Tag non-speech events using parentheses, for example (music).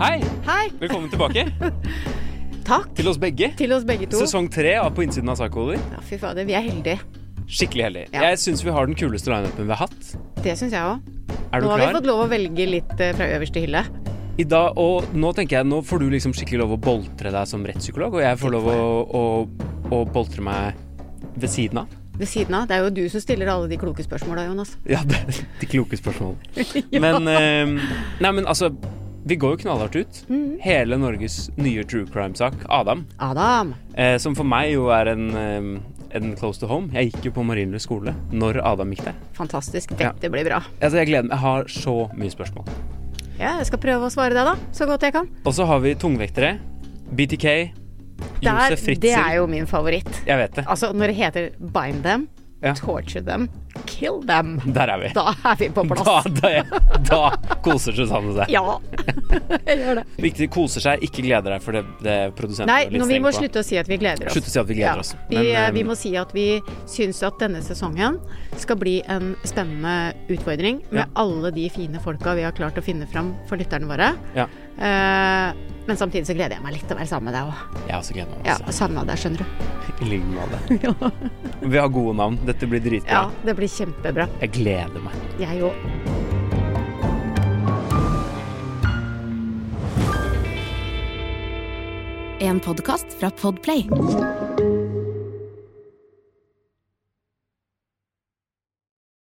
Hei! Hei! Velkommen tilbake Takk til oss begge. til oss begge to. Sesong tre av På innsiden av sakhoder. Ja, fy fader, vi er heldige. Skikkelig heldig. Ja. Jeg syns vi har den kuleste lineupen vi har hatt. Det syns jeg òg. Er du Nå har vi klar? fått lov å velge litt eh, fra øverste hylle. I dag, og nå tenker jeg, nå får du liksom skikkelig lov å boltre deg som rettspsykolog, og jeg får lov å, å, å boltre meg ved siden av. (laughs) Ved siden av. Det er jo du som stiller alle de kloke spørsmåla, Jonas. Ja, det, de kloke (laughs) spørsmålene. Men eh, Nei, men altså Vi går jo knallhardt ut. Mm. Hele Norges nye true crime-sak, Adam, Adam! eh, som for meg jo er en, eh, en close to home. Jeg gikk jo på Marienlyst skole når Adam gikk der. Fantastisk. Ja. Dette blir bra. Altså, jeg gleder meg. Jeg har så mye spørsmål. Ja, jeg skal prøve å svare deg, da. Så godt jeg kan. Og så har vi tungvektere. BTK. Der, Josef Fritzl. det er jo min favoritt. Jeg vet det. Altså, når det heter bind them, Ja. torture them, kill them, Der er vi. da er vi på (laughs) Da, plass. da, da koser Susanne seg. Ja. (laughs) Jeg gjør det. Viktig koser seg, ikke gleder deg, for det, det produsenten Nei, er litt nå, vi streng må på. slutte å si at vi gleder oss. Slutt å si at vi gleder oss. Vi, Men, eh, vi eh, må si at vi syns at denne sesongen skal bli en spennende utfordring med Ja. alle de fine folka vi har klart å finne fram for lytterne våre. Ja. Eh, men samtidig så gleder jeg meg litt til å være sammen med deg òg. Jeg også gleder meg Ja, masse. Savna deg, skjønner du. I like (laughs) måte. Vi har gode navn. Dette blir Ja, dritbra. det blir kjempebra. Jeg gleder meg. Jeg òg. En podkast fra Podplay.